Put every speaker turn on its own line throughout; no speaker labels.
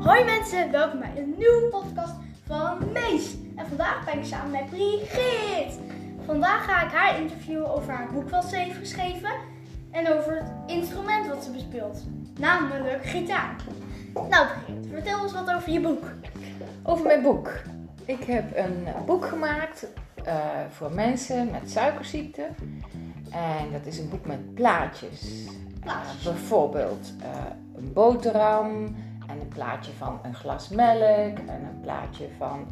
Hoi mensen, welkom bij een nieuwe podcast van Mees. En vandaag ben ik samen met Brigitte. Vandaag ga ik haar interviewen over haar boek wat ze heeft geschreven en over het instrument wat ze bespeelt, namelijk gitaar. Nou Brigitte, vertel ons wat over je boek.
Over mijn boek. Ik heb een boek gemaakt eh, voor mensen met suikerziekte. En dat is een boek met plaatjes.
Plaatjes.
Eh, bijvoorbeeld eh, een boterham en een plaatje van een glas melk en een plaatje van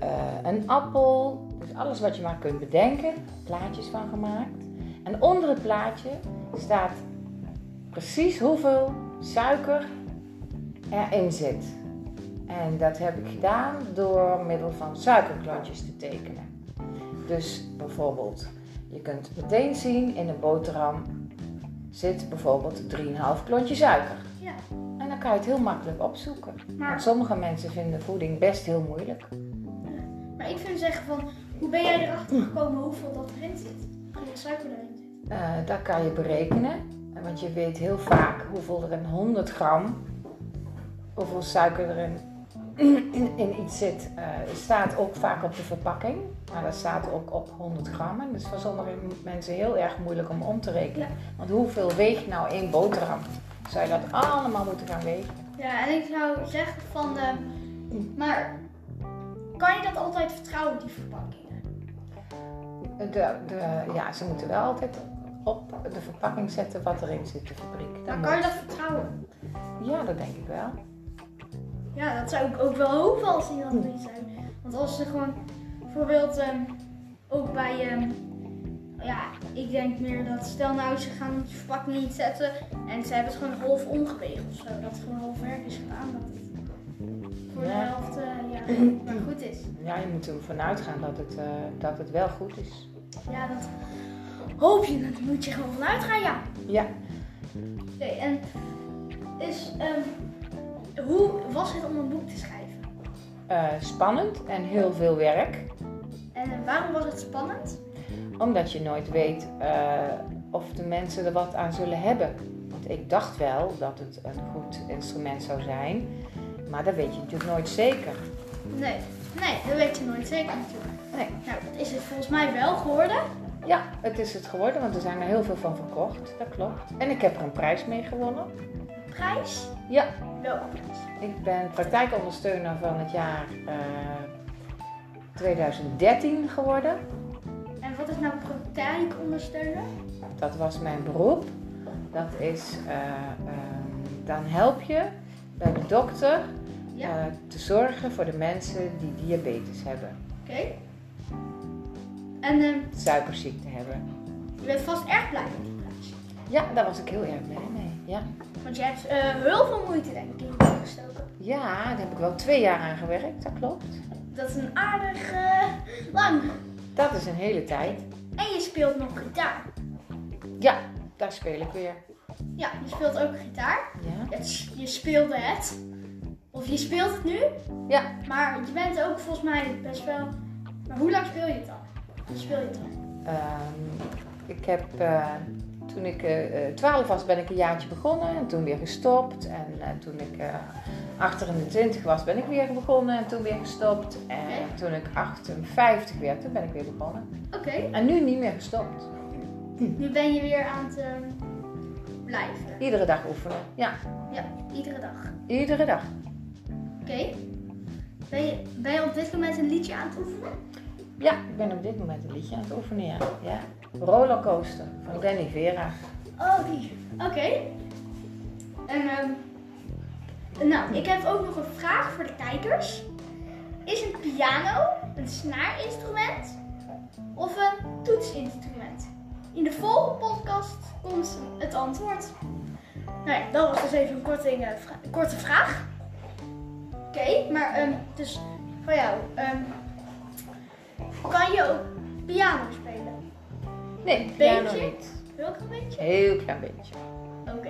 eh, een appel. Dus alles wat je maar kunt bedenken, plaatjes van gemaakt. En onder het plaatje staat precies hoeveel suiker erin zit. En dat heb ik gedaan door middel van suikerklontjes te tekenen. Dus bijvoorbeeld, je kunt meteen zien in een boterham zit bijvoorbeeld 3,5 klontje suiker.
Ja,
En dan kan je het heel makkelijk opzoeken. Want
maar,
sommige mensen vinden voeding best heel moeilijk.
maar ik vind zeggen van, hoe ben jij erachter gekomen hoeveel dat erin zit? Hoeveel suiker erin zit?
Eh, dat kan je berekenen. En Want je weet heel vaak hoeveel er in 100 gram, hoeveel suiker er in, in, in iets zit. Eh, staat ook vaak op de verpakking. Maar dat staat ook op 100 gram. En dat is voor sommige mensen heel erg moeilijk om om te rekenen. Want hoeveel weegt nou één boterham? Zou je dat allemaal moeten gaan wegen?
Ja, en ik zou zeggen van, eh, maar kan je dat altijd vertrouwen, die verpakkingen?
De, de, ja, ze moeten wel altijd op de verpakking zetten wat erin zit, de fabriek.
Dan
Dat
kan je
moet.
dat vertrouwen.
Ja, dat denk ik wel.
Ja, dat zou ik ook wel hopen als die dan erin zijn. Want als ze gewoon, bijvoorbeeld, ehm, ook bij, ehm, ja, ik denk meer dat, stel nou ze gaan die verpakking niet zetten en ze hebben het gewoon half omgewegen of zo. Dat het gewoon half werk is gedaan, dat het voor de
Ja.
helft, eh, ja, maar goed is.
Ja, je moet ervan uitgaan dat het, eh, dat het wel goed is.
Ja, dat hoop je, dat moet je gewoon vanuit gaan, ja.
Ja,
Oké, en is, ehm, hoe was het om een boek te schrijven?
eh, spannend en heel veel werk.
En eh, waarom was het spannend?
Omdat je nooit weet eh, of de mensen er wat aan zullen hebben. Want ik dacht wel dat het een goed instrument zou zijn. Maar dat weet je natuurlijk nooit zeker.
Nee, nee, dat weet je nooit zeker natuurlijk.
Nee.
Nou, dat is het volgens mij wel geworden.
Ja, het is het geworden, want er zijn er heel veel van verkocht. Dat klopt. En ik heb er een prijs mee gewonnen.
Prijs?
Ja,
Welke prijs?
Ik ben praktijkondersteuner van het jaar eh, 2013 geworden.
En wat is nou praktijk ondersteunen?
Dat was mijn beroep. Dat is, eh, ehm, dan help je bij de dokter
Ja,
eh, te zorgen voor de mensen die diabetes hebben,
oké. En ehm,
suikerziekte hebben.
je bent vast erg blij met die prijs.
Ja, daar was ik heel erg blij mee. Ja,
Want je hebt eh, heel veel moeite denk ik in je boek gestoken.
ja daar heb ik wel twee jaar aan gewerkt, dat klopt.
Dat is een aardig eh, lang.
Dat is een hele tijd.
En je speelt nog gitaar.
Ja, daar speel ik weer.
Ja, je speelt ook gitaar.
Ja,
Het, s- je speelde het. Of je speelt het nu.
ja
Maar je bent ook volgens mij best wel. Maar hoe lang speel je het dan? Hoe speel je het dan?
Ehm, ik heb, eh, toen ik eh, eh, 12 was, ben ik een jaartje begonnen en toen weer gestopt. En eh, toen ik eh 28 was, ben ik weer begonnen en toen weer gestopt. En
Oké.
toen ik 58 werd, toen ben ik weer begonnen.
Oké,
En nu niet meer gestopt.
nu ben je weer aan het ehm, blijven.
Iedere dag oefenen. Ja,
Ja, iedere dag. Oké.
iedere dag.
Ben, je, ben je op dit moment een liedje aan het oefenen?
Ja, ik ben op dit moment een liedje aan het oefenen, ja. ja. Rollercoaster van Danny Vera.
Oh, die. Oké. En, ehm, nou, ik heb ook nog een vraag voor de kijkers. Is een piano een snaarinstrument of een toetsinstrument? In de volgende podcast komt het antwoord. Nou ja, dat was dus even een korting, eh, vra- een korte vraag. Oké, maar ehm, dus van jou. ehm, kan je ook piano spelen?
Nee, piano
Beetje?
niet.
Welke beetje?
Heel klein beetje.
Oké.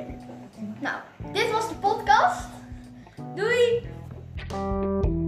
Nou, dit was de podcast. Doei!